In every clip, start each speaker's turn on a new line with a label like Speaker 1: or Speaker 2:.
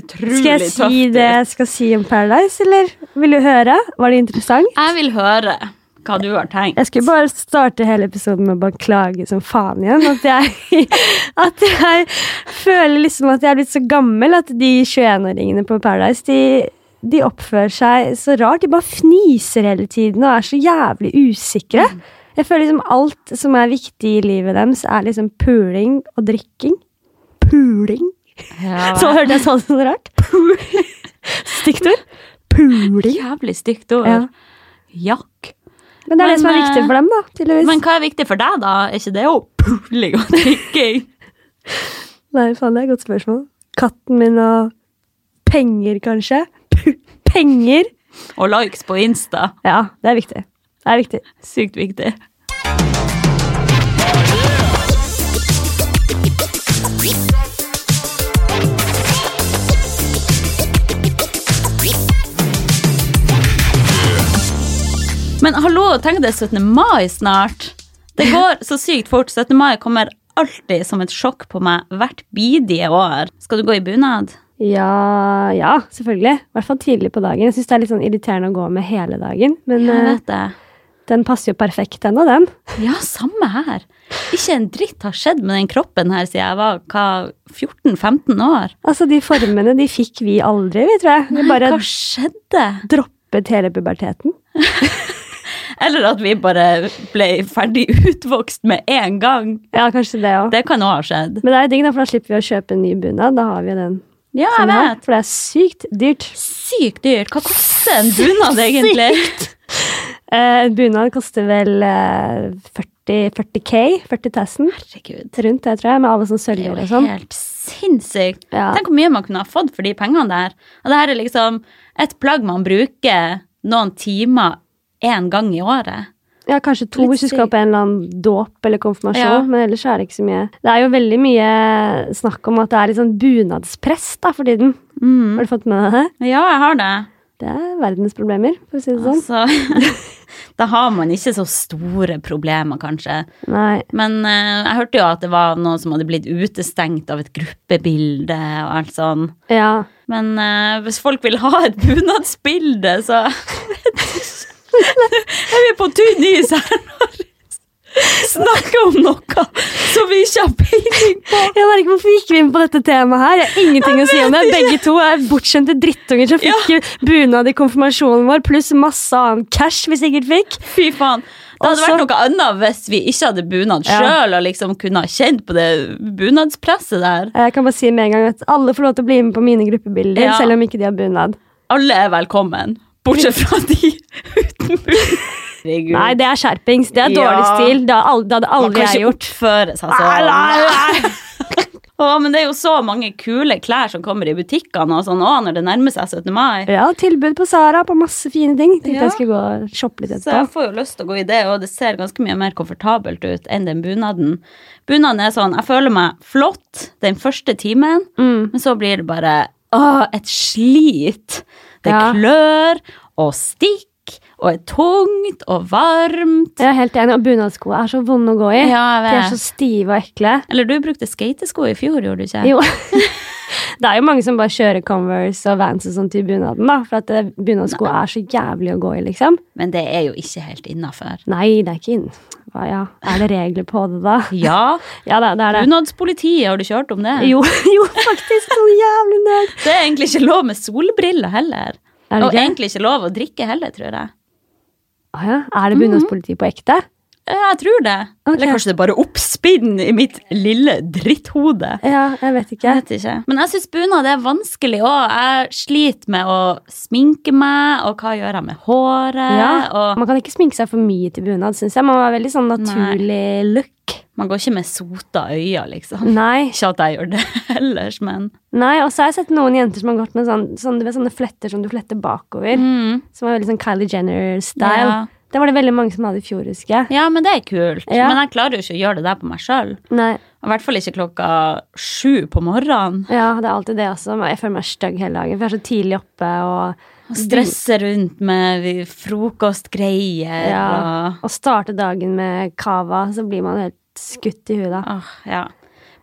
Speaker 1: utrolig
Speaker 2: Skal jeg
Speaker 1: tøft
Speaker 2: si
Speaker 1: ut.
Speaker 2: det jeg skal si om Paradise, eller vil du høre? Var det interessant?
Speaker 1: Jeg vil høre hva du har tenkt.
Speaker 2: Jeg skulle bare starte hele episoden med å bare klage som faen igjen. At jeg, at jeg føler liksom at jeg er blitt så gammel at de 21-åringene på Paradise de, de oppfører seg så rart. De bare fniser hele tiden og er så jævlig usikre. Jeg føler liksom alt som er viktig i livet deres, er liksom puling og drikking. Puling?
Speaker 1: Ja,
Speaker 2: Så hørte jeg sånn sånn rart. Stygt ord. Puling.
Speaker 1: Jævlig stygt ord.
Speaker 2: Ja.
Speaker 1: Jakk.
Speaker 2: Men det er det
Speaker 1: Men,
Speaker 2: som er viktig
Speaker 1: eh,
Speaker 2: for dem, da. tydeligvis.
Speaker 1: Men hva er viktig for deg, da? Er ikke det jo puling og drikking?
Speaker 2: Nei, faen, det er et godt spørsmål. Katten min og penger, kanskje? P penger!
Speaker 1: Og likes på Insta.
Speaker 2: Ja, det er viktig. Det er viktig.
Speaker 1: Sykt viktig. Men hallo, tenk det er 17. mai snart. Det går så sykt fort. 17. mai kommer alltid som et sjokk på meg hvert bidige år. Skal du gå i bunad?
Speaker 2: Ja, ja, selvfølgelig. I hvert fall tidlig på dagen. Jeg syns det er litt sånn irriterende å gå med hele dagen, men
Speaker 1: Jeg
Speaker 2: eh,
Speaker 1: vet det.
Speaker 2: den passer jo perfekt, den og den.
Speaker 1: Ja, samme her. Ikke en dritt har skjedd med den kroppen her siden jeg var hva, 14-15 år.
Speaker 2: Altså, de formene de fikk vi aldri, vi, tror jeg. Vi bare
Speaker 1: Hva skjedde?
Speaker 2: droppet hele puberteten.
Speaker 1: Eller at vi bare ble ferdig utvokst med en gang.
Speaker 2: Ja, kanskje det òg.
Speaker 1: Det kan òg ha skjedd.
Speaker 2: Men det er jo digg, da, for da slipper vi å kjøpe en ny bunad. Da har vi jo den.
Speaker 1: Ja,
Speaker 2: som
Speaker 1: jeg
Speaker 2: vi har,
Speaker 1: vet.
Speaker 2: For det er sykt dyrt.
Speaker 1: Sykt dyrt. Hva koster en bunad egentlig?
Speaker 2: Eh, En bunad koster vel eh, 40, 40K, 40 000.
Speaker 1: Herregud.
Speaker 2: Rundt det, tror jeg, med alle sånne
Speaker 1: Det
Speaker 2: søljer
Speaker 1: er
Speaker 2: og
Speaker 1: jo
Speaker 2: sånn.
Speaker 1: helt sinnssykt.
Speaker 2: Ja.
Speaker 1: Tenk hvor mye man kunne ha fått for de pengene der. Og det her er liksom et plagg man bruker noen timer én gang i året.
Speaker 2: Ja, kanskje to
Speaker 1: Litt
Speaker 2: hvis du skal
Speaker 1: sykt.
Speaker 2: på en eller annen dåp eller konfirmasjon,
Speaker 1: Ja.
Speaker 2: men ellers er det ikke så mye. Det er jo veldig mye snakk om at det er litt sånn bunadspress da, for tiden.
Speaker 1: Mm.
Speaker 2: Har du fått med deg det?
Speaker 1: Ja, jeg har det.
Speaker 2: Det er verdens problemer, for å si det sånn.
Speaker 1: Altså, da har man ikke så store problemer, kanskje.
Speaker 2: sånn. Nei.
Speaker 1: Men eh, jeg hørte jo at det var noen som hadde blitt utestengt av et gruppebilde og alt sånn.
Speaker 2: Ja.
Speaker 1: Men eh, hvis folk vil ha et bunadsbilde, så er vi på tynn is her når vi snakker om noe som vi ikke har peiling på.
Speaker 2: Jeg merker hvorfor gikk vi inn på dette temaet her. Jeg har ingenting å si om det. Begge to er bortskjemte drittunger som
Speaker 1: Ja.
Speaker 2: fikk bunad i konfirmasjonen vår, pluss masse annen cash vi sikkert fikk.
Speaker 1: Fy faen. Det hadde
Speaker 2: Altså-
Speaker 1: vært noe annet hvis vi ikke hadde bunad
Speaker 2: Ja.
Speaker 1: sjøl og liksom kunne ha kjent på det bunadspresset der.
Speaker 2: Eh, Jeg kan bare si med en gang at alle får lov til å bli med på mine gruppebilder,
Speaker 1: Ja.
Speaker 2: selv om ikke de har bunad.
Speaker 1: Alle er velkommen, bortsett fra de uten bunad.
Speaker 2: Nei, det er skjerpings. Det er dårlig
Speaker 1: Ja.
Speaker 2: stil. Det, har al- det hadde
Speaker 1: Man
Speaker 2: aldri
Speaker 1: kan
Speaker 2: jeg
Speaker 1: ikke
Speaker 2: gjort.
Speaker 1: oppføre seg sånn. Å, men det er jo så mange kule klær som kommer i butikkene og sånn, å, når det nærmer seg 17. mai.
Speaker 2: Ja, tilbud på Sara på masse fine ting. Tenkte
Speaker 1: Ja.
Speaker 2: jeg skulle gå og shoppe litt
Speaker 1: Så jeg
Speaker 2: etterpå.
Speaker 1: får jo lyst til å gå i det, og det ser ganske mye mer komfortabelt ut enn den bunaden. Bunaden er sånn, jeg føler meg flott den første timen,
Speaker 2: Mm.
Speaker 1: men så blir det bare åh, et slit. Det
Speaker 2: Ja.
Speaker 1: klør og stikk og er tungt og varmt.
Speaker 2: Jeg er helt enig, og bunadsko er så vonde å gå i.
Speaker 1: Ja,
Speaker 2: De er
Speaker 1: jeg
Speaker 2: så
Speaker 1: vet.
Speaker 2: stive og ekle.
Speaker 1: Eller du brukte skatesko i fjor, gjorde du ikke?
Speaker 2: Jo. Det er jo mange som bare kjører Converse og Vans og sånt i bunaden, da. For at det- bunadsko er så jævlig å gå i, liksom.
Speaker 1: Men det er jo ikke helt innafor.
Speaker 2: Nei, det er ikke inn. Hva, ja. Er det regler på det, da?
Speaker 1: Ja,
Speaker 2: Ja, det, det er det.
Speaker 1: bunadspolitiet, har du ikke hørt om det?
Speaker 2: Jo, jo faktisk. Sånn jævlig nerd.
Speaker 1: Det er egentlig ikke lov med solbriller heller.
Speaker 2: Er det
Speaker 1: Og
Speaker 2: ikke?
Speaker 1: egentlig ikke lov å drikke heller, tror jeg.
Speaker 2: Å ja. Er det bunadspoliti på ekte?
Speaker 1: Eh, Jeg tror det.
Speaker 2: Ok.
Speaker 1: Eller kanskje det er bare oppspinn i mitt lille dritthode.
Speaker 2: Ja, jeg vet
Speaker 1: Jeg
Speaker 2: ikke.
Speaker 1: vet ikke. Men jeg syns bunad er vanskelig òg. Jeg sliter med å sminke meg, og hva gjør jeg med håret?
Speaker 2: Ja.
Speaker 1: Og
Speaker 2: Man kan ikke sminke seg for mye til bunad, syns jeg. Man må ha veldig sånn naturlig look.
Speaker 1: man går ikke med sota øyne, liksom.
Speaker 2: Nei.
Speaker 1: Ikke at jeg gjør det ellers, men
Speaker 2: Nei. Og så har jeg sett noen jenter som har gått med sånn, sånn, du vet, sånne fletter som du fletter bakover.
Speaker 1: mm.
Speaker 2: Som var veldig sånn Kylie Jenner-style.
Speaker 1: Ja.
Speaker 2: Det var det veldig mange som hadde i fjor, husker jeg.
Speaker 1: ja, men det er kult.
Speaker 2: Ja.
Speaker 1: Men jeg klarer jo ikke å gjøre det der på meg sjøl.
Speaker 2: Nei,
Speaker 1: I hvert fall ikke klokka sju på morgenen.
Speaker 2: ja, det er alltid det også. men Jeg føler meg stygg hele dagen, for jeg er så tidlig oppe og
Speaker 1: Og Stresse rundt med frokostgreier
Speaker 2: Ja.
Speaker 1: og
Speaker 2: Å starte dagen
Speaker 1: Ah,
Speaker 2: med cava, så blir man helt skutt i huet da.
Speaker 1: Åh, ja.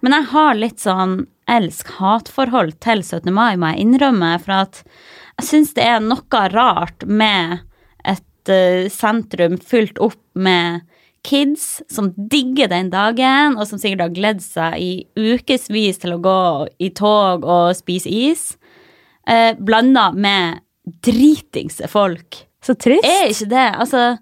Speaker 1: Men jeg har litt sånn elsk-hat-forhold til 17. mai, må jeg innrømme. For at jeg syns det er noe rart med et eh, sentrum fylt opp med kids som digger den dagen, og som sikkert har gledd seg i ukevis til å gå i tog og spise is, eh, blanda med dritingse folk.
Speaker 2: Så trist.
Speaker 1: Er ikke det? Altså,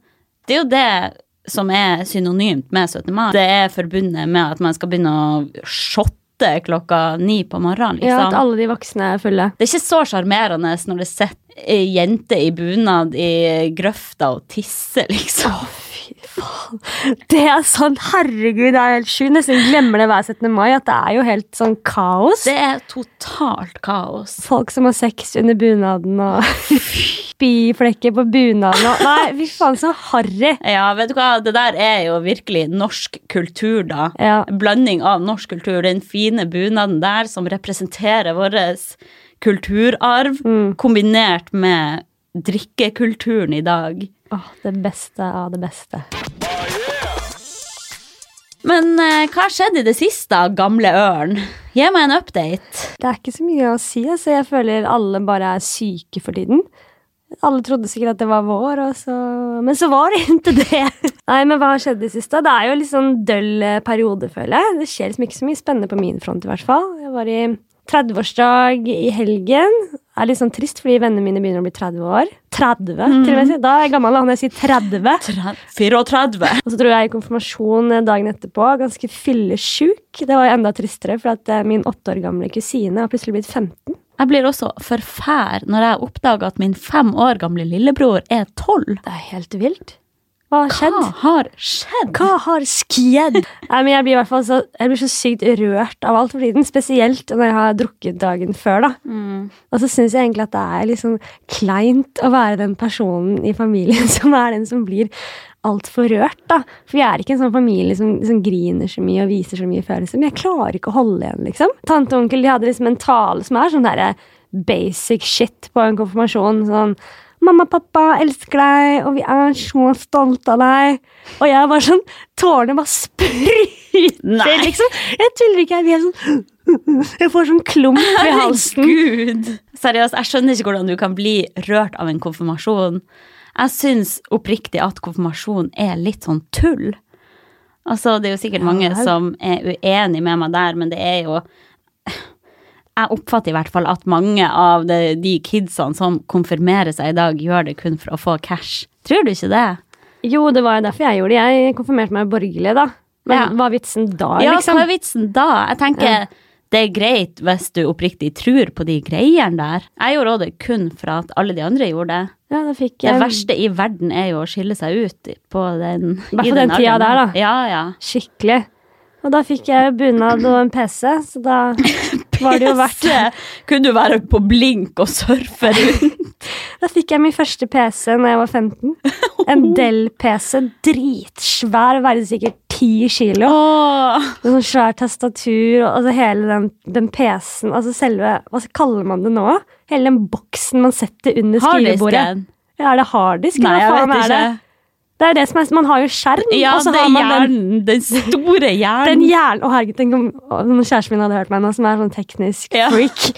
Speaker 1: det er jo det som er synonymt med 17. mai. Det er forbundet med at man skal begynne å shotte klokka ni på morgenen.
Speaker 2: Ja, at
Speaker 1: Liksom.
Speaker 2: alle de voksne er fulle.
Speaker 1: Det er ikke så sjarmerende når det sitter ei jente i bunad i grøfta og tisser, liksom.
Speaker 2: Fy faen. Det er sånn, herregud, det er helt sjukt. Nesten glemmer det hver 17. mai, at det er jo helt sånn kaos.
Speaker 1: Det er totalt kaos.
Speaker 2: Folk som har sex under bunaden og spyflekker på bunaden og Nei, fy faen, så harry.
Speaker 1: Ja, vet du hva, det der er jo virkelig norsk kultur, da.
Speaker 2: Ja.
Speaker 1: En blanding av norsk kultur, den fine bunaden der som representerer vår kulturarv, kombinert med drikkekulturen i dag.
Speaker 2: Åh, det beste av det beste.
Speaker 1: Men eh, hva har skjedd i det siste, gamle ørn? Gi meg en update.
Speaker 2: Det er ikke så mye å si. Altså. Jeg føler alle bare er syke for tiden. Alle trodde sikkert at det var vår, og så... men så var det ikke det. Nei, men hva har skjedd i det siste? Det er jo litt sånn døll eh, periode, føler jeg. Det skjer liksom ikke så mye spennende på min front, i hvert fall. Jeg var i 30-årsdag i helgen. Det er litt sånn trist, fordi vennene mine begynner å bli 30 år. 30, til og med. Da er jeg gammel, og når jeg sier 30.
Speaker 1: 34.
Speaker 2: Og så dro jeg i konfirmasjon eh, dagen etterpå, ganske fyllesjuk. Det var jo enda tristere, for at eh, min åtte år gamle kusine har plutselig blitt 15.
Speaker 1: Jeg blir også forfær når jeg oppdager at min fem år gamle lillebror er tolv.
Speaker 2: Det er helt vilt. Hva har skjedd?
Speaker 1: Hva har skjedd?
Speaker 2: Hva har skjedd? Nei, men jeg blir i hvert fall så, jeg blir så sykt rørt av alt for tiden, spesielt når jeg har drukket dagen før. da. Og så syns jeg egentlig at det er litt sånn kleint å være den personen i familien som er den som blir altfor rørt. da. For jeg er ikke en sånn familie som, som griner så mye og viser så mye følelser. Men jeg klarer ikke å holde igjen, liksom. Tante og onkel de hadde liksom en tale som er sånn derre basic shit på en konfirmasjon. sånn Mamma og pappa elsker deg, og vi er så stolte av deg. Og jeg var sånn Tårene bare spruter,
Speaker 1: Nei.
Speaker 2: liksom. Jeg tuller ikke. Jeg blir helt sånn Jeg får sånn klump i halsen.
Speaker 1: Gud! Seriøst, jeg skjønner ikke hvordan du kan bli rørt av en konfirmasjon. Jeg syns oppriktig at konfirmasjon er litt sånn tull. Altså, det er jo sikkert mange
Speaker 2: vel.
Speaker 1: som er uenig med meg der, men det er jo Jeg oppfatter i hvert fall at mange av de, de kidsene som konfirmerer seg i dag, gjør det kun for å få cash. Tror du ikke det?
Speaker 2: Jo, det var jo derfor jeg gjorde det. Jeg konfirmerte meg borgerlig, da. Men
Speaker 1: Ja.
Speaker 2: hva er vitsen da,
Speaker 1: Ja,
Speaker 2: liksom?
Speaker 1: hva er vitsen da? Jeg tenker det er greit hvis du oppriktig tror på de greiene der. Jeg gjorde også det kun for at alle de andre gjorde det.
Speaker 2: Ja, da fikk
Speaker 1: Det
Speaker 2: jeg
Speaker 1: verste i verden er jo å skille seg ut i- på den
Speaker 2: hvert
Speaker 1: i
Speaker 2: fall den tida
Speaker 1: alderen.
Speaker 2: der, da.
Speaker 1: Ja, ja.
Speaker 2: skikkelig. Og da fikk jeg bunad og en PC, så da var det jo verdt
Speaker 1: Pisse! Kunne du være på blink og surfe rundt?
Speaker 2: Da fikk jeg min første PC når jeg var 15. En Dell-PC. Dritsvær, veide sikkert 10 kilo.
Speaker 1: Åh,
Speaker 2: Med sånn svær tastatur og altså hele den, den PC-en. Altså selve Hva kaller man det nå? Hele den boksen man setter under skrivebordet.
Speaker 1: harddisken?
Speaker 2: Ja, er det harddisk?
Speaker 1: Nei,
Speaker 2: eller
Speaker 1: jeg
Speaker 2: hva faen
Speaker 1: vet
Speaker 2: er
Speaker 1: ikke.
Speaker 2: det? Det er det som er, Man har jo skjerm,
Speaker 1: Ja,
Speaker 2: og så
Speaker 1: det
Speaker 2: har
Speaker 1: er
Speaker 2: man den,
Speaker 1: hjernen. Den store
Speaker 2: den
Speaker 1: hjernen.
Speaker 2: hjernen Å, herregud, tenk om å, om kjæresten min hadde hørt meg nå, som er sånn teknisk
Speaker 1: Ja.
Speaker 2: freak.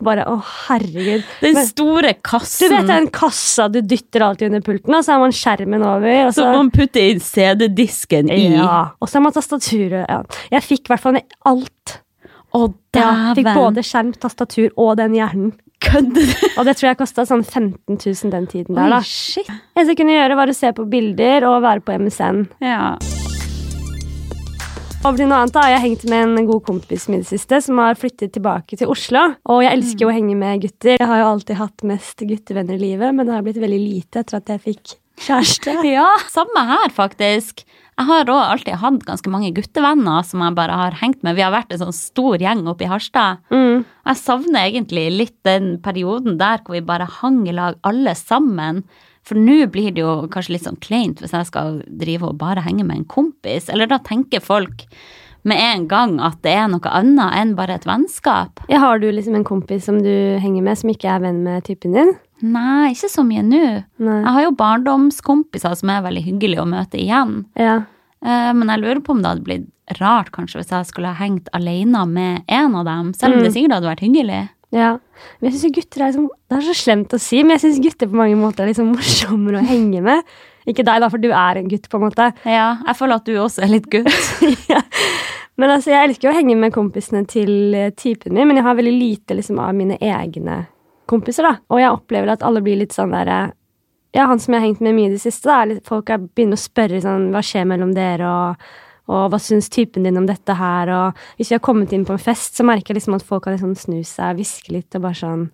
Speaker 2: Bare, å, herregud.
Speaker 1: Den
Speaker 2: Men-
Speaker 1: store
Speaker 2: Du vet
Speaker 1: kassen
Speaker 2: den kassa du dytter alltid under pulten, og så har man skjermen over. Og så,
Speaker 1: som man putter inn CD-disken i.
Speaker 2: ja, og så har man tastaturet. Ja. Jeg fikk i hvert fall alt.
Speaker 1: Å,
Speaker 2: Ja, fikk
Speaker 1: dæven.
Speaker 2: både skjerm, tastatur og den hjernen.
Speaker 1: Kødder du?
Speaker 2: Og det tror jeg kosta sånn 15 000 den tiden der, da.
Speaker 1: Oi, shit.
Speaker 2: Det eneste jeg kunne gjøre, var å se på bilder og være på MSN.
Speaker 1: Ja.
Speaker 2: Over til noe annet da, Jeg har hengt med en god kompis min i det siste, som har flyttet tilbake til Oslo. Og jeg elsker
Speaker 1: Mm.
Speaker 2: jo å henge med gutter. Jeg har jo alltid hatt mest guttevenner i livet, men det har blitt veldig lite etter at jeg fikk kjæreste.
Speaker 1: Ja, samme her faktisk. Jeg har også alltid hatt ganske mange guttevenner som jeg bare har hengt med. Vi har vært en sånn stor gjeng oppe i Harstad.
Speaker 2: Mm.
Speaker 1: Jeg savner egentlig litt den perioden der hvor vi bare hang i lag alle sammen. For nå blir det jo kanskje litt sånn kleint hvis jeg skal drive og bare henge med en kompis. Eller da tenker folk med en gang at det er noe annet enn bare et vennskap.
Speaker 2: Jeg har du liksom en kompis som du henger med, som ikke er venn med typen din?
Speaker 1: Nei, ikke så mye nå.
Speaker 2: Nei.
Speaker 1: Jeg har jo barndomskompiser som er veldig hyggelige å møte igjen.
Speaker 2: Ja.
Speaker 1: Eh, Men jeg lurer på om det hadde blitt rart kanskje hvis jeg skulle ha hengt alene med en av dem, selv om det sikkert hadde vært hyggelig.
Speaker 2: Ja. Men jeg synes jo gutter er liksom, Det er så slemt å si, men jeg syns gutter på mange måter er liksom morsommere å henge med. Ikke deg, da, for du er en gutt, på en måte.
Speaker 1: Ja, jeg føler at du også er litt gutt.
Speaker 2: Ja. Men altså, jeg elsker jo å henge med kompisene til eh, typen min, men jeg har veldig lite liksom, av mine egne kompiser. da. Og jeg opplever at alle blir litt sånn derre Ja, han som jeg har hengt med mye i det siste, da, er litt, folk er, begynner å spørre sånn Hva skjer mellom dere, og, og hva syns typen din om dette her? Og hvis vi har kommet inn på en fest, så merker jeg liksom at folk kan liksom snu seg, hviske litt og bare sånn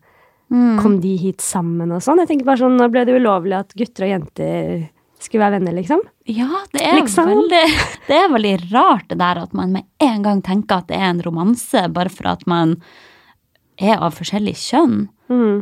Speaker 1: Mm.
Speaker 2: Kom de hit sammen og sånn? Jeg tenker bare sånn, Nå ble det ulovlig at gutter og jenter skulle være venner, liksom.
Speaker 1: Ja, det er,
Speaker 2: Liksom.
Speaker 1: veldig, det er veldig rart det der at man med en gang tenker at det er en romanse, bare for at man er av forskjellig kjønn.
Speaker 2: Mm.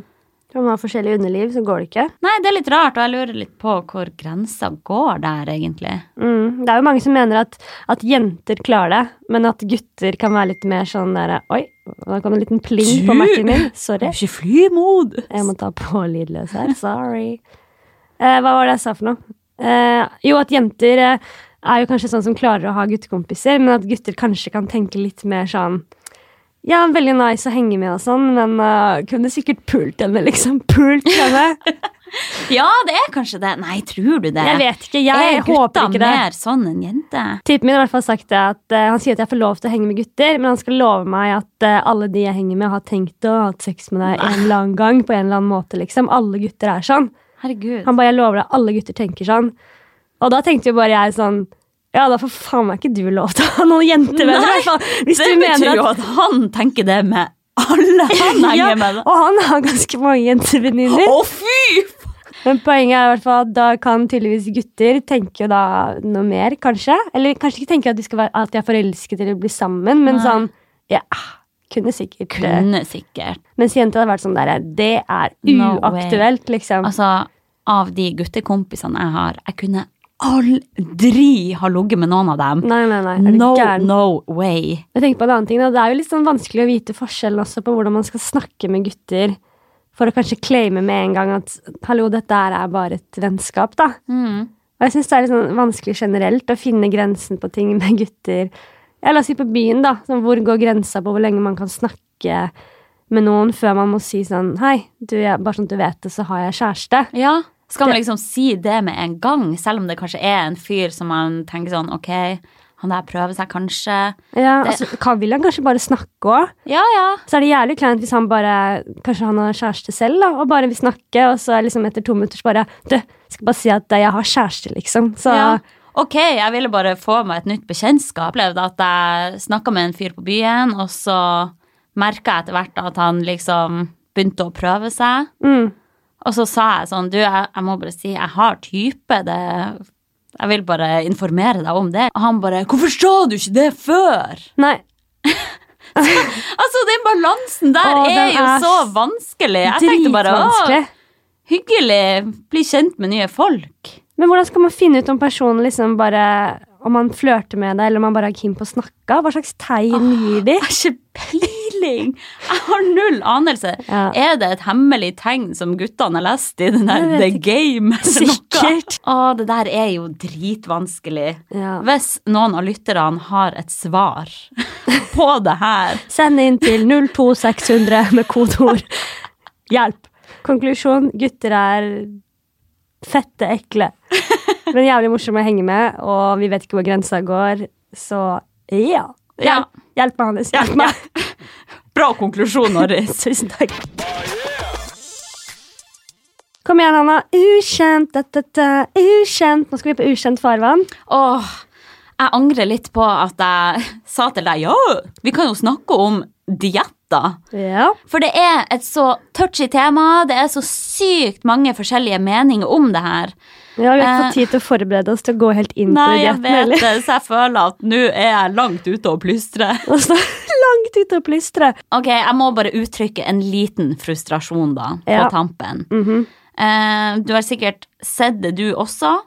Speaker 2: Om man har forskjellig underliv, så går det ikke.
Speaker 1: Nei, det er litt rart, og jeg lurer litt på hvor grensa går der, egentlig.
Speaker 2: Mm. Det er jo mange som mener at, at jenter klarer det, men at gutter kan være litt mer sånn derre Oi, nå kom det en liten pling på
Speaker 1: Du!
Speaker 2: Mac-en min. Sorry.
Speaker 1: ikke flymod!
Speaker 2: Jeg må ta på lydløs her. Sorry. Eh, hva var det jeg sa for noe? Eh, jo, at jenter eh, er jo kanskje sånn som klarer å ha guttekompiser, men at gutter kanskje kan tenke litt mer sånn ja, veldig nice å henge med og sånn, men eh, kunne sikkert pult henne, liksom. Pult henne.
Speaker 1: Ja, det er kanskje det. Nei, tror du det?
Speaker 2: Jeg vet ikke, jeg,
Speaker 1: er
Speaker 2: håper
Speaker 1: gutta
Speaker 2: ikke det.
Speaker 1: mer sånn enn jenter?
Speaker 2: Typen min har i hvert fall sagt det at eh, han sier at jeg får lov til å henge med gutter, men han skal love meg at eh, alle de jeg henger med, har tenkt å ha hatt sex med deg en eller annen gang på en eller annen måte. liksom. Alle gutter er sånn.
Speaker 1: Herregud.
Speaker 2: Han bare 'jeg lover deg, alle gutter tenker sånn'. Og da tenkte jo bare jeg sånn Ja, da får faen meg ikke du lov til å ha noen jentevenner, i hvert fall. Hvis
Speaker 1: det
Speaker 2: du mener
Speaker 1: betyr
Speaker 2: at
Speaker 1: jo at han tenker det med alle han henger
Speaker 2: ja,
Speaker 1: med.
Speaker 2: og han har ganske mange jentevenninner.
Speaker 1: Å, fy!
Speaker 2: Men poenget er i hvert fall at da kan tydeligvis gutter tenke jo da noe mer, kanskje. Eller kanskje ikke tenke at de, skal være, at de er forelsket eller bli sammen, men
Speaker 1: Nei.
Speaker 2: sånn Ja, kunne sikkert eh,
Speaker 1: Kunne sikkert.
Speaker 2: Mens jenta hadde vært sånn der Det er
Speaker 1: No
Speaker 2: uaktuelt, liksom.
Speaker 1: Altså, av de guttekompisene jeg har, jeg kunne aldri ha ligget med noen av dem.
Speaker 2: Nei, nei, nei. Er du
Speaker 1: No,
Speaker 2: gæren?
Speaker 1: no way.
Speaker 2: Jeg tenker på en annen ting. Da. Det er jo litt sånn vanskelig å vite forskjellen også på hvordan man skal snakke med gutter for å kanskje claime med en gang at hallo, dette her er bare et vennskap, da. Og jeg syns det er litt sånn vanskelig generelt å finne grensen på ting med gutter. Ja, la oss si på byen, da. Sånn, hvor går grensa på hvor lenge man kan snakke med noen før man må si sånn Hei, du, jeg, bare sånn at du vet det, så har jeg kjæreste.
Speaker 1: Ja. Skal man
Speaker 2: Det-
Speaker 1: liksom si det med en gang, selv om det kanskje er en fyr som man tenker sånn Ok, han der prøver seg kanskje.
Speaker 2: Ja,
Speaker 1: Det-
Speaker 2: altså, kan, vil han kanskje bare snakke òg?
Speaker 1: Ja, ja.
Speaker 2: Så er det jævlig kleint hvis han bare Kanskje han har kjæreste selv, da, og bare vil snakke, og så er liksom etter to minutter så bare Du, skal bare si at jeg har kjæreste, liksom. Så
Speaker 1: ja. Ok, jeg ville bare få meg et nytt bekjentskap. Opplevde at jeg snakka med en fyr på byen, og så merka jeg etter hvert at han liksom begynte å prøve seg.
Speaker 2: mm,
Speaker 1: Og så sa jeg sånn, du, jeg, jeg må bare si, jeg har type, det, jeg vil bare informere deg om det. Og han bare, hvorfor sa du ikke det før?
Speaker 2: Nei.
Speaker 1: Altså, den balansen der
Speaker 2: Å,
Speaker 1: er
Speaker 2: den
Speaker 1: jo
Speaker 2: er
Speaker 1: så
Speaker 2: s-
Speaker 1: vanskelig. Jeg tenkte bare, å,
Speaker 2: Dritvanskelig.
Speaker 1: hyggelig, bli kjent med nye folk.
Speaker 2: Men hvordan skal man finne ut om personen liksom bare Om han flørter med deg, eller om han bare er keen på å snakke? Hva slags tegn gir de?
Speaker 1: Jeg har ikke peiling. Jeg har null anelse.
Speaker 2: Ja.
Speaker 1: Er det et hemmelig tegn som guttene har lest i den der
Speaker 2: Jeg vet
Speaker 1: The Game? eller noe?
Speaker 2: Sikkert.
Speaker 1: Å, det der er jo dritvanskelig.
Speaker 2: Ja.
Speaker 1: Hvis noen av lytterne har et svar på det her
Speaker 2: Send inn til 02600 med kodeord 'hjelp'. Konklusjon gutter er fette ekle. Men jævlig morsomme å henge med, og vi vet ikke hvor grensa går, så ja.
Speaker 1: Ja.
Speaker 2: Hjelp, hjelp meg, Hannes. Hjelp meg.
Speaker 1: Bra konklusjon, Norris.
Speaker 2: Tusen takk. Kom igjen, Anna. Ukjent, da, da, da. ukjent. Nå skal vi på ukjent farvann.
Speaker 1: Åh, jeg angrer litt på at jeg sa til deg ja, vi kan jo snakke om dietter.
Speaker 2: Ja.
Speaker 1: For det er et så touchy tema, det er så sykt mange forskjellige meninger om det her.
Speaker 2: Vi har jo ikke
Speaker 1: Eh.
Speaker 2: fått tid til å forberede oss til å gå helt inn på
Speaker 1: Nei, jeg
Speaker 2: dietten,
Speaker 1: vet
Speaker 2: heller.
Speaker 1: det, så jeg føler at nå er jeg langt ute og plystrer.
Speaker 2: Og så langt ute å plystre.
Speaker 1: Ok, jeg må bare uttrykke en liten frustrasjon da,
Speaker 2: Ja.
Speaker 1: på tampen. eh, du har sikkert sett det du også,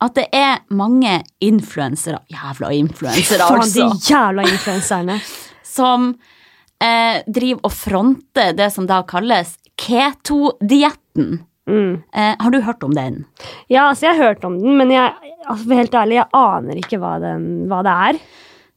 Speaker 1: at det er mange influensere, jævla influensere
Speaker 2: Faen,
Speaker 1: altså,
Speaker 2: de jævla influenserne.
Speaker 1: som eh, driver og fronter det som da kalles keto-dietten.
Speaker 2: Mm.
Speaker 1: Eh, har du hørt om den?
Speaker 2: Ja, altså, jeg har hørt om den, men jeg, altså, for helt ærlig, jeg aner ikke hva, den, hva det er.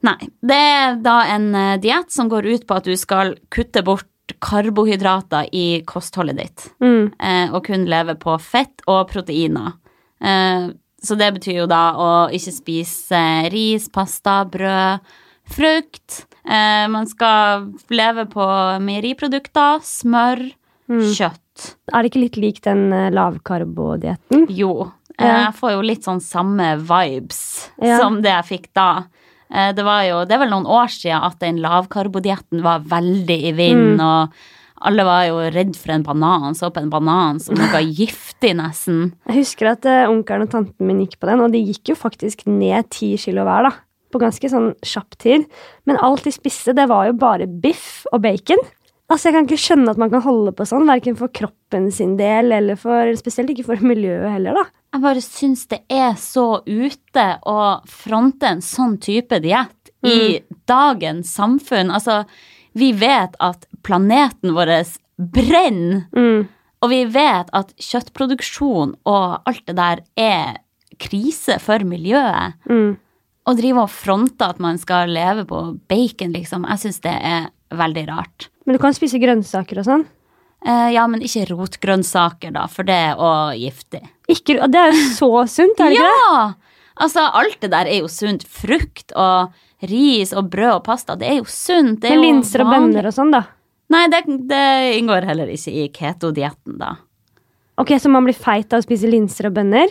Speaker 1: Nei. Det er da en eh, diett som går ut på at du skal kutte bort karbohydrater i kostholdet ditt,
Speaker 2: Mm.
Speaker 1: eh, og kun leve på fett og proteiner. Eh, Så det betyr jo da å ikke spise ris, pasta, brød, frukt. Eh, Man skal leve på meieriprodukter, smør, kjøtt.
Speaker 2: Er det ikke litt lik den eh, lavkarbodietten?
Speaker 1: Jo.
Speaker 2: Ja.
Speaker 1: eh, Jeg får jo litt sånn samme vibes
Speaker 2: Ja.
Speaker 1: som det jeg fikk da. Eh, Det var jo, det er vel noen år siden at den lavkarbodietten var veldig i
Speaker 2: Mm.
Speaker 1: vinden, og alle var jo redd for en banan, så på en banan som noe giftig nesten.
Speaker 2: Jeg husker at eh, onkelen og tanten min gikk på den, og de gikk jo faktisk ned ti kilo hver, da. På ganske sånn kjapp tid. Men alt de spiste, det var jo bare biff og bacon. Altså, Jeg kan ikke skjønne at man kan holde på sånn, verken for kroppen sin del eller for Spesielt ikke for miljøet heller, da.
Speaker 1: Jeg bare syns det er så ute å fronte en sånn type diett i
Speaker 2: Mm.
Speaker 1: dagens samfunn. Altså, vi vet at planeten vår brenner.
Speaker 2: Mm,
Speaker 1: Og vi vet at kjøttproduksjon og alt det der er krise for miljøet.
Speaker 2: mm.
Speaker 1: Å drive og fronte at man skal leve på bacon, liksom, jeg syns det er veldig rart.
Speaker 2: Men du kan spise grønnsaker og sånn.
Speaker 1: Eh, ja, men ikke rotgrønnsaker, da, for det er òg giftig.
Speaker 2: Ikke, og det er jo så sunt, er det ikke det?
Speaker 1: Ja! Altså, alt det der er jo sunt. Frukt og ris og brød og pasta, det er jo sunt. Det er
Speaker 2: Med linser og
Speaker 1: vanlig.
Speaker 2: bønner og sånn, da.
Speaker 1: Nei, det, det inngår heller ikke i keto-dietten, da.
Speaker 2: Ok, Så man blir feit av å spise linser og bønner?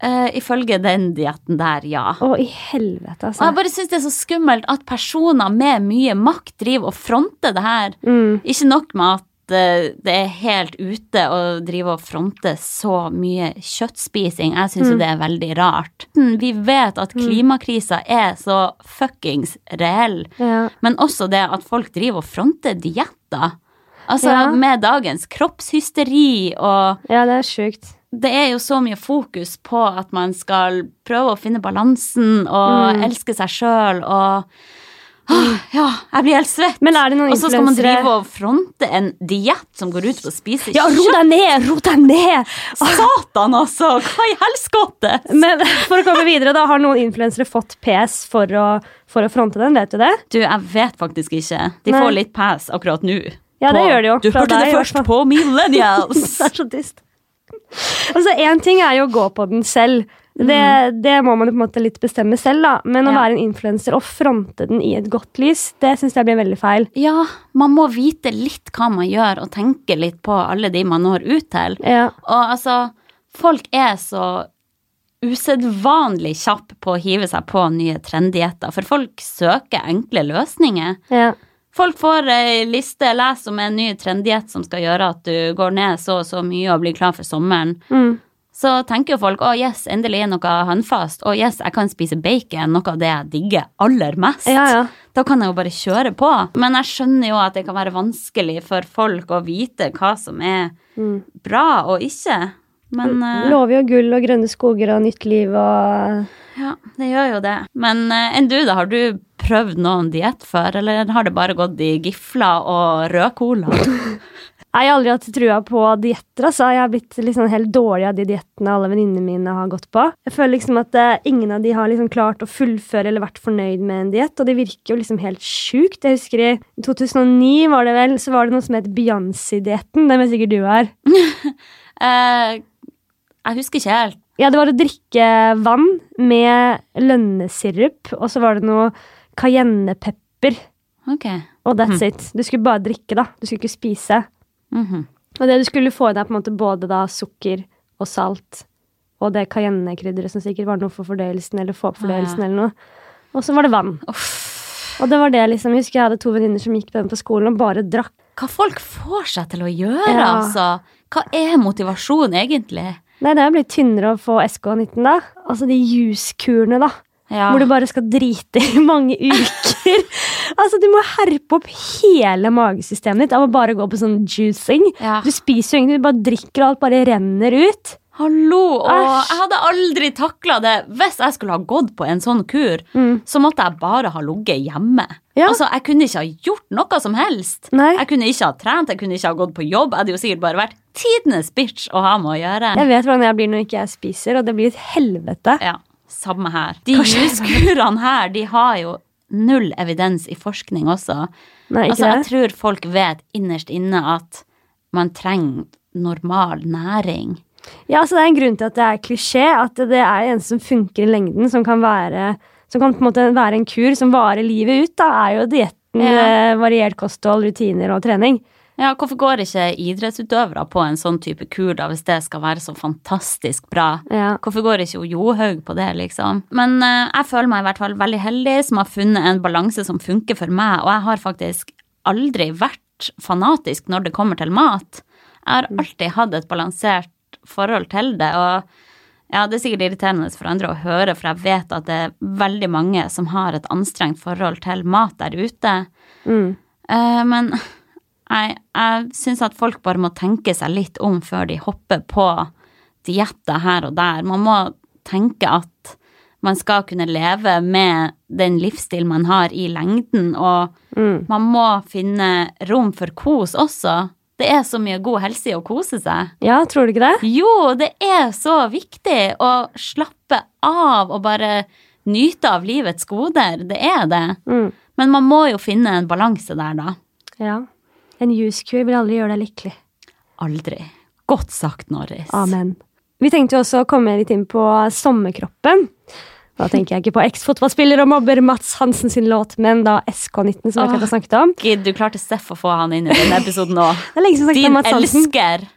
Speaker 1: Eh, ifølge den dietten der, ja.
Speaker 2: Å, i helvete,
Speaker 1: Og jeg
Speaker 2: altså.
Speaker 1: bare syns det er så skummelt at personer med mye makt driver og fronter det her.
Speaker 2: Mm.
Speaker 1: Ikke nok med at eh, det er helt ute å drive og fronte så mye kjøttspising. Jeg syns jo det er veldig rart. Mm, Vi vet at klimakrisa er så fuckings reell.
Speaker 2: Ja.
Speaker 1: Men også det at folk driver og fronter dietter. Altså
Speaker 2: Ja.
Speaker 1: med dagens kroppshysteri og
Speaker 2: ja, det er sjukt.
Speaker 1: det er jo så mye fokus på at man skal prøve å finne balansen og
Speaker 2: Mm.
Speaker 1: elske seg sjøl og Åh, Ja, jeg blir helt svett.
Speaker 2: Men er det noen
Speaker 1: og så skal man
Speaker 2: influensere-
Speaker 1: drive og fronte en diett som går ut på å spise
Speaker 2: Ja, ro deg ned! Ro deg ned!
Speaker 1: Satan, altså! Hva i helskotte?
Speaker 2: Men for å komme videre, da, har noen influensere fått PS for å, for å fronte den? Vet du det?
Speaker 1: Du, jeg vet faktisk ikke. De
Speaker 2: Nei.
Speaker 1: får litt pass akkurat nå.
Speaker 2: Ja, det
Speaker 1: På-
Speaker 2: gjør de jo,
Speaker 1: Du
Speaker 2: fra
Speaker 1: hørte
Speaker 2: deg i
Speaker 1: det
Speaker 2: hvert
Speaker 1: først på Millennials.
Speaker 2: Det er så trist. Altså, Én ting er jo å gå på den selv. Det, det må man jo på en måte litt bestemme selv, da. Men å
Speaker 1: Mm. Ja.
Speaker 2: være en influenser og fronte den i et godt lys, det syns jeg blir veldig feil.
Speaker 1: Ja, man må vite litt hva man gjør, og tenke litt på alle de man når ut til.
Speaker 2: Ja.
Speaker 1: Og altså, folk er så usedvanlig kjappe på å hive seg på nye trenddietter, for folk søker enkle løsninger.
Speaker 2: Ja.
Speaker 1: Folk får ei liste, les om en ny trenddiett som skal gjøre at du går ned så og så mye og blir klar for sommeren.
Speaker 2: Mm.
Speaker 1: Så tenker jo folk å yes, endelig er noe håndfast, å yes, jeg kan spise bacon, noe av det jeg digger aller mest.
Speaker 2: Ja, ja.
Speaker 1: Da kan jeg jo bare kjøre på. Men jeg skjønner jo at det kan være vanskelig for folk å vite hva som er
Speaker 2: Mm.
Speaker 1: bra og ikke. Men eh,
Speaker 2: Lover jo gull og grønne skoger og nytt liv og
Speaker 1: ja, det gjør jo det. Men eh, enn du, da? Har du prøvd noen diett før, eller har det bare gått i gifler og rød cola?
Speaker 2: Nei, Jeg har aldri hatt trua på dietter. altså. Jeg har blitt liksom helt dårlig av de diettene alle venninnene mine har gått på. Jeg føler liksom at eh, ingen av de har liksom klart å fullføre eller vært fornøyd med en diett, og det virker jo liksom helt sjukt. Jeg husker i 2009 var det vel, så var det noe som het Beyoncé-dietten. Den vet sikkert du er.
Speaker 1: Eh, jeg husker ikke helt.
Speaker 2: Ja, det var å drikke vann med lønnesirup, og så var det noe cayennepepper,
Speaker 1: Ok.
Speaker 2: og that's it. Du skulle bare drikke, da. Du skulle ikke spise.
Speaker 1: Mhm.
Speaker 2: Og det du skulle få i deg, er på en måte både da sukker og salt. Og det cayennekrydderet som sikkert var noe for fordøyelsen eller få opp fordøyelsen.
Speaker 1: Ja.
Speaker 2: eller noe. Og så var det vann. Og det var det liksom, jeg husker jeg hadde to venninner som gikk på den på skolen og bare drakk.
Speaker 1: Hva folk får seg til å gjøre,
Speaker 2: Ja.
Speaker 1: altså. Hva er motivasjon, egentlig?
Speaker 2: Nei, det er jo blitt tynnere å få SK19, da. Altså de juskurene, da.
Speaker 1: Ja.
Speaker 2: Hvor du bare skal drite i mange uker. altså, du må herpe opp hele magesystemet ditt av å bare gå på sånn juicing.
Speaker 1: Ja.
Speaker 2: Du spiser jo ingenting, du bare drikker, og alt bare renner ut.
Speaker 1: Hallo! Og
Speaker 2: Æsj.
Speaker 1: jeg hadde aldri takla det. Hvis jeg skulle ha gått på en sånn kur, så måtte jeg bare ha ligget hjemme.
Speaker 2: Ja.
Speaker 1: Altså, Jeg kunne ikke ha gjort noe som helst.
Speaker 2: Nei.
Speaker 1: Jeg kunne ikke ha trent, jeg kunne ikke ha gått på jobb. Jeg hadde jo sikkert bare vært tidenes bitch å ha med å gjøre.
Speaker 2: Jeg vet hvordan jeg blir når ikke jeg spiser, og det blir et helvete.
Speaker 1: Ja, samme her. De juskurene her, de har jo null evidens i forskning også.
Speaker 2: Nei, ikke
Speaker 1: Altså, jeg
Speaker 2: det?
Speaker 1: tror folk vet innerst inne at man trenger normal næring.
Speaker 2: Ja, altså Det er en grunn til at det er klisjé. At det er en som funker i lengden, som kan være, som kan på en, måte være en kur som varer livet ut. Da er jo
Speaker 1: Ja.
Speaker 2: dietten eh, variert kosthold, rutiner og trening.
Speaker 1: Ja, hvorfor går ikke idrettsutøvere på en sånn type kur da, hvis det skal være så fantastisk bra?
Speaker 2: Ja.
Speaker 1: Hvorfor går ikke Johaug på det, liksom? Men eh, jeg føler meg i hvert fall veldig heldig som har funnet en balanse som funker for meg, og jeg har faktisk aldri vært fanatisk når det kommer til mat. Jeg har alltid hatt et balansert forhold til det, og ja, det er sikkert irriterende for andre å høre, for jeg vet at det er veldig mange som har et anstrengt forhold til mat der ute.
Speaker 2: Mm.
Speaker 1: Eh, men jeg, jeg syns at folk bare må tenke seg litt om før de hopper på dietter her og der. Man må tenke at man skal kunne leve med den livsstil man har i lengden, og
Speaker 2: Mm.
Speaker 1: man må finne rom for kos også. Det er så mye god helse i å kose seg.
Speaker 2: ja, tror du ikke det?
Speaker 1: Jo, det er så viktig å slappe av og bare nyte av livets goder. Det er det.
Speaker 2: Mm.
Speaker 1: Men man må jo finne en balanse der, da.
Speaker 2: Ja. En juskur vil aldri gjøre deg lykkelig.
Speaker 1: Aldri. Godt sagt, Norris.
Speaker 2: Amen. Vi tenkte jo også å komme litt inn på sommerkroppen. Da tenker jeg ikke på eks-fotballspiller og mobber Mats Hansen sin låt, men da SK19, som vi akkurat har snakket om.
Speaker 1: Gid, du klarte Steff å få han inn i denne episoden òg.
Speaker 2: Det er lenge siden vi snakket
Speaker 1: Din
Speaker 2: om Mats Hansen.
Speaker 1: elsker.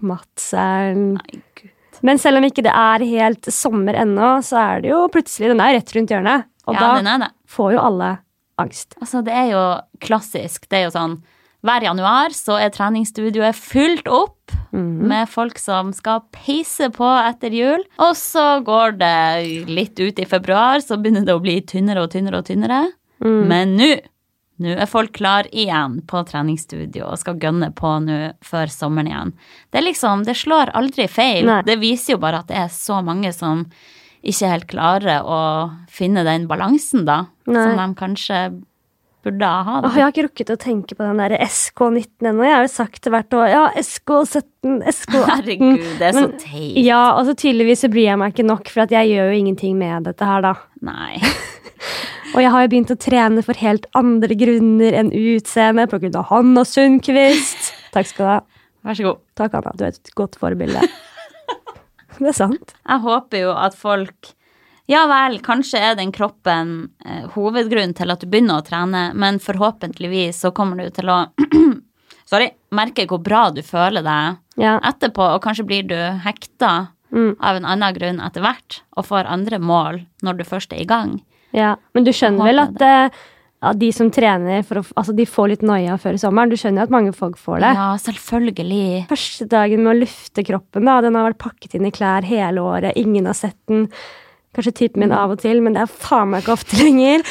Speaker 2: Mats er en
Speaker 1: Nei, Gud.
Speaker 2: Men selv om ikke det er helt sommer ennå, så er det jo plutselig Den er rett rundt hjørnet. Og
Speaker 1: Ja, den
Speaker 2: da
Speaker 1: er det.
Speaker 2: får jo alle angst.
Speaker 1: Altså, det er jo klassisk. Det er jo sånn hver januar så er treningsstudioet fylt opp
Speaker 2: Mhm.
Speaker 1: med folk som skal peise på etter jul. Og så går det litt ut i februar, så begynner det å bli tynnere og tynnere og tynnere.
Speaker 2: Mhm.
Speaker 1: Men nå nå er folk klar igjen på treningsstudio og skal gønne på nå før sommeren igjen. Det er liksom, det slår aldri feil.
Speaker 2: Nei.
Speaker 1: Det viser jo bare at det er så mange som ikke helt klarer å finne den balansen, da.
Speaker 2: Nei.
Speaker 1: Som de kanskje burde ha.
Speaker 2: Åh, jeg har ikke rukket å tenke på den der SK19 ennå. Jeg har jo sagt det hvert år. Ja, SK17, SK18.
Speaker 1: Herregud, det er så
Speaker 2: Men-
Speaker 1: teit.
Speaker 2: Ja, og så tydeligvis så bryr jeg meg ikke nok, for at jeg gjør jo ingenting med dette her, da.
Speaker 1: Nei.
Speaker 2: Og jeg har jo begynt å trene for helt andre grunner enn utseende, på grunn av Hanna Sundquist. Takk skal du ha.
Speaker 1: Vær så god.
Speaker 2: Takk, Hanna. Du er et godt forbilde. Det er sant.
Speaker 1: Jeg håper jo at folk Ja vel, kanskje er den kroppen eh, hovedgrunnen til at du begynner å trene, men forhåpentligvis så kommer du til å Sorry. Merke hvor bra du føler deg
Speaker 2: Ja.
Speaker 1: etterpå, og kanskje blir du hekta
Speaker 2: Mm.
Speaker 1: av en annen grunn etter hvert, og får andre mål når du først er i gang.
Speaker 2: Ja, men du skjønner
Speaker 1: Jeg
Speaker 2: vel
Speaker 1: håper
Speaker 2: at eh, ja, de som trener, for å, f- altså de får litt noia før sommeren. Du skjønner jo at mange folk får det.
Speaker 1: Ja, selvfølgelig.
Speaker 2: Første dagen med å lufte kroppen, da, den har vært pakket inn i klær hele året. Ingen har sett den. Kanskje tippen
Speaker 1: Mm.
Speaker 2: min av og til, men det er faen meg ikke ofte lenger.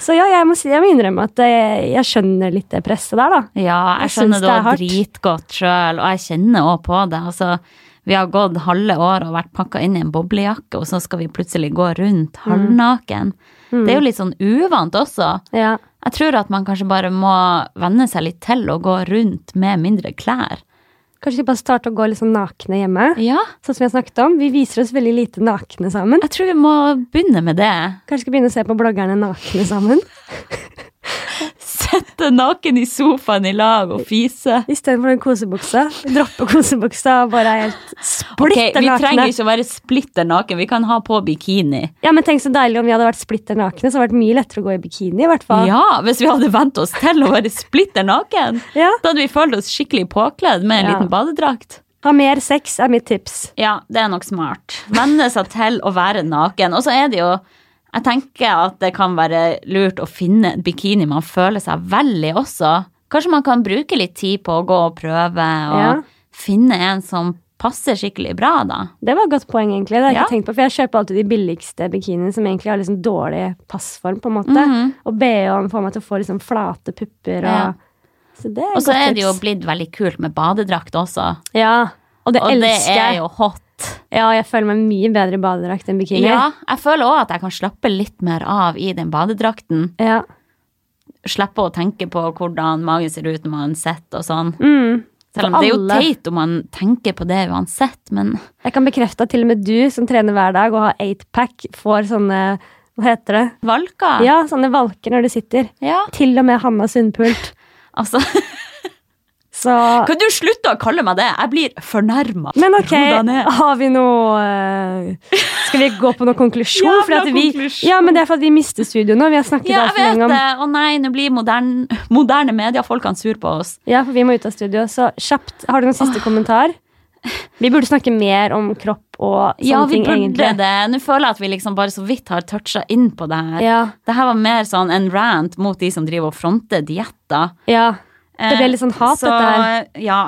Speaker 2: Så ja, jeg må, si, jeg må innrømme at eh, jeg skjønner litt det presset der, da.
Speaker 1: Ja, jeg
Speaker 2: Jeg
Speaker 1: skjønner det
Speaker 2: syns det
Speaker 1: var
Speaker 2: er hardt.
Speaker 1: dritgodt sjøl, og jeg kjenner òg på det. Altså, vi har gått halve året og vært pakka inn i en boblejakke, og så skal vi plutselig gå
Speaker 2: Mm.
Speaker 1: rundt halvnaken. Det er jo litt sånn uvant også.
Speaker 2: Ja.
Speaker 1: Jeg tror at man kanskje bare må venne seg litt til å gå rundt med mindre klær.
Speaker 2: Kanskje vi bare starter å gå litt sånn nakne hjemme.
Speaker 1: Ja,
Speaker 2: Sånn som jeg snakket om. Vi viser oss veldig lite nakne sammen.
Speaker 1: jeg tror vi må begynne med det.
Speaker 2: Kanskje vi skal begynne å se på bloggerne nakne sammen.
Speaker 1: Sette naken i sofaen i lag og fise.
Speaker 2: Istedenfor den kosebuksa. Droppe kosebuksa og bare er helt splitter
Speaker 1: vi trenger
Speaker 2: nakne.
Speaker 1: ikke å være splitter naken, vi kan ha på bikini.
Speaker 2: Ja, men Tenk så deilig om vi hadde vært splitter nakne. Så hadde det vært mye lettere å gå i bikini. i hvert fall.
Speaker 1: Ja, hvis vi hadde vent oss til å være splitter naken.
Speaker 2: Ja.
Speaker 1: Da hadde vi følt oss skikkelig påkledd med en
Speaker 2: Ja.
Speaker 1: liten badedrakt.
Speaker 2: Ha mer sex er mitt tips.
Speaker 1: Ja, det er nok smart. Venne seg til å være naken. Og så er det jo Jeg tenker at det kan være lurt å finne en bikini man føler seg vel i også. Kanskje man kan bruke litt tid på å gå og prøve og
Speaker 2: Ja.
Speaker 1: finne en som passer skikkelig bra, da.
Speaker 2: Det var et godt poeng, egentlig. Det har jeg
Speaker 1: Ja.
Speaker 2: ikke tenkt på, for jeg kjøper alltid de billigste bikiniene som egentlig har liksom dårlig passform. på en måte. Og BH-en får meg til å få liksom flate pupper.
Speaker 1: Mhm.
Speaker 2: Og,
Speaker 1: Ja.
Speaker 2: Så det er
Speaker 1: Og
Speaker 2: et
Speaker 1: så
Speaker 2: godt
Speaker 1: er det jo
Speaker 2: tips.
Speaker 1: blitt veldig kult med badedrakt også.
Speaker 2: Ja, Og det
Speaker 1: Og det
Speaker 2: elsker
Speaker 1: er
Speaker 2: jeg.
Speaker 1: jo hot.
Speaker 2: Ja, jeg føler meg mye bedre i badedrakt enn bikini.
Speaker 1: Ja, jeg føler òg at jeg kan slappe litt mer av i den badedrakten.
Speaker 2: Ja.
Speaker 1: slippe å tenke på hvordan magen ser ut når man sitter og sånn.
Speaker 2: Mm.
Speaker 1: Selv om
Speaker 2: for
Speaker 1: det er jo
Speaker 2: alle.
Speaker 1: teit om man tenker på det uansett, men
Speaker 2: Jeg kan bekrefte at til og med du som trener hver dag og har eightpack, får sånne Hva heter det?
Speaker 1: Valker?
Speaker 2: Ja, sånne valker når du sitter.
Speaker 1: Ja,
Speaker 2: Til og med Hanna Sundpult.
Speaker 1: altså.
Speaker 2: Så
Speaker 1: Kan du slutte å kalle meg det? Jeg blir fornærma.
Speaker 2: Men ok,
Speaker 1: Ro deg ned.
Speaker 2: har vi noe eh, Skal vi gå på noen konklusjon?
Speaker 1: Jævla
Speaker 2: Fordi at vi,
Speaker 1: konklusjon.
Speaker 2: ja, men det er for at vi mister studio nå. Vi har snakket
Speaker 1: Ja,
Speaker 2: alt
Speaker 1: jeg
Speaker 2: for
Speaker 1: vet
Speaker 2: lenge om
Speaker 1: det. Å nei, nå blir moderne, moderne mediefolkene sur på oss.
Speaker 2: Ja, for vi må ut av studio. Så kjapt, har du noen siste kommentar? Vi burde snakke mer om kropp og sånne
Speaker 1: Ja, vi
Speaker 2: ting,
Speaker 1: burde
Speaker 2: egentlig.
Speaker 1: det. Nå føler jeg at vi liksom bare så vidt har toucha inn på det her.
Speaker 2: Ja,
Speaker 1: Det her var mer sånn en rant mot de som driver og fronter dietter. Eh,
Speaker 2: ja. Det ble litt sånn hat,
Speaker 1: så,
Speaker 2: dette her.
Speaker 1: Ja.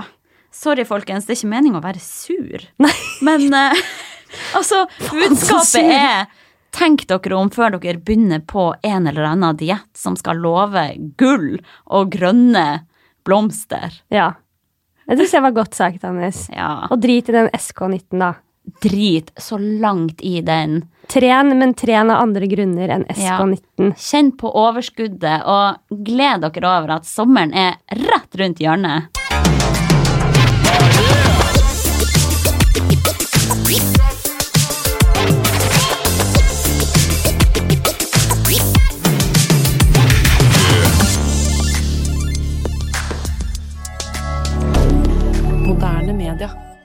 Speaker 1: Sorry, folkens. Det er ikke meninga å være sur. Men eh, altså,
Speaker 2: så sur.
Speaker 1: budskapet er Tenk dere om før dere begynner på en eller annen diett som skal love gull og grønne blomster.
Speaker 2: Ja. Det syns jeg var godt sagt, Agnes.
Speaker 1: Ja.
Speaker 2: Og drit i den SK19, da.
Speaker 1: Drit så langt i den.
Speaker 2: Tren, men tren av andre grunner enn SK19.
Speaker 1: Kjenn på overskuddet, og gled dere over at sommeren er rett rundt hjørnet.
Speaker 3: Moderne media.